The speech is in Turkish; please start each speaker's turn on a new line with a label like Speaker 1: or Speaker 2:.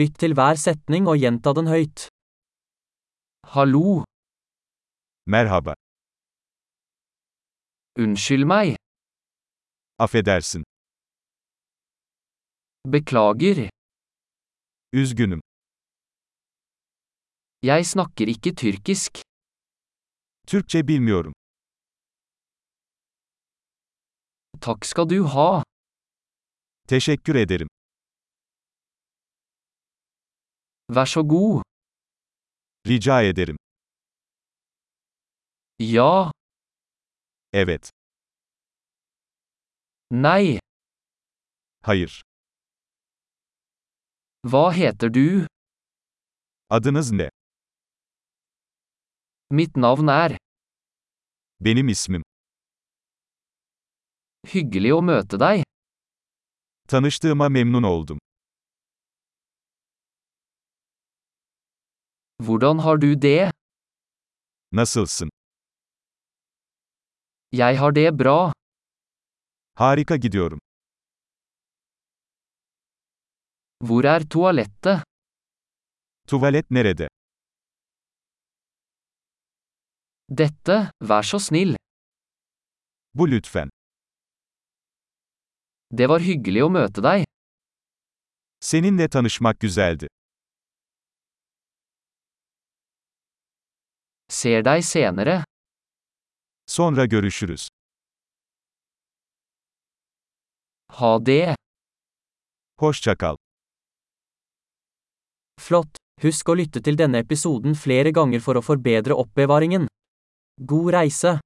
Speaker 1: Lytt til hver setning og gjenta den høyt. Hallo,
Speaker 2: Merhaba.
Speaker 1: unnskyld meg,
Speaker 2: Affedersin.
Speaker 1: beklager,
Speaker 2: Üzgünüm.
Speaker 1: jeg snakker ikke tyrkisk,
Speaker 2: Türkçe bilmiyorum.
Speaker 1: takk skal du ha,
Speaker 2: Teşekkür ederim.
Speaker 1: vær så god,
Speaker 2: Rica ederim.
Speaker 1: ja,
Speaker 2: Evet.
Speaker 1: nei,
Speaker 2: Hayır.
Speaker 1: hva heter du,
Speaker 2: Adınız ne?
Speaker 1: mitt navn er,
Speaker 2: Benim ismim.
Speaker 1: hyggelig å møte deg,
Speaker 2: Tanıştığıma memnun oldum.
Speaker 1: hvordan har du det,
Speaker 2: Nasılsın?
Speaker 1: jeg har det bra,
Speaker 2: Harika gidiyorum.
Speaker 1: hvor er toalettet,
Speaker 2: Tuvalet nerede?
Speaker 1: dette, vær så snill,
Speaker 2: Bu lütfen.
Speaker 1: det var hyggelig å møte deg,
Speaker 2: Seninle tanışmak güzeldi.
Speaker 1: ser deg senere,
Speaker 2: Sonra görüşürüz.
Speaker 1: ha det,
Speaker 2: Hoşça kal.
Speaker 1: flott, husk å lytte til denne episoden flere ganger for å forbedre oppbevaringen. God reise!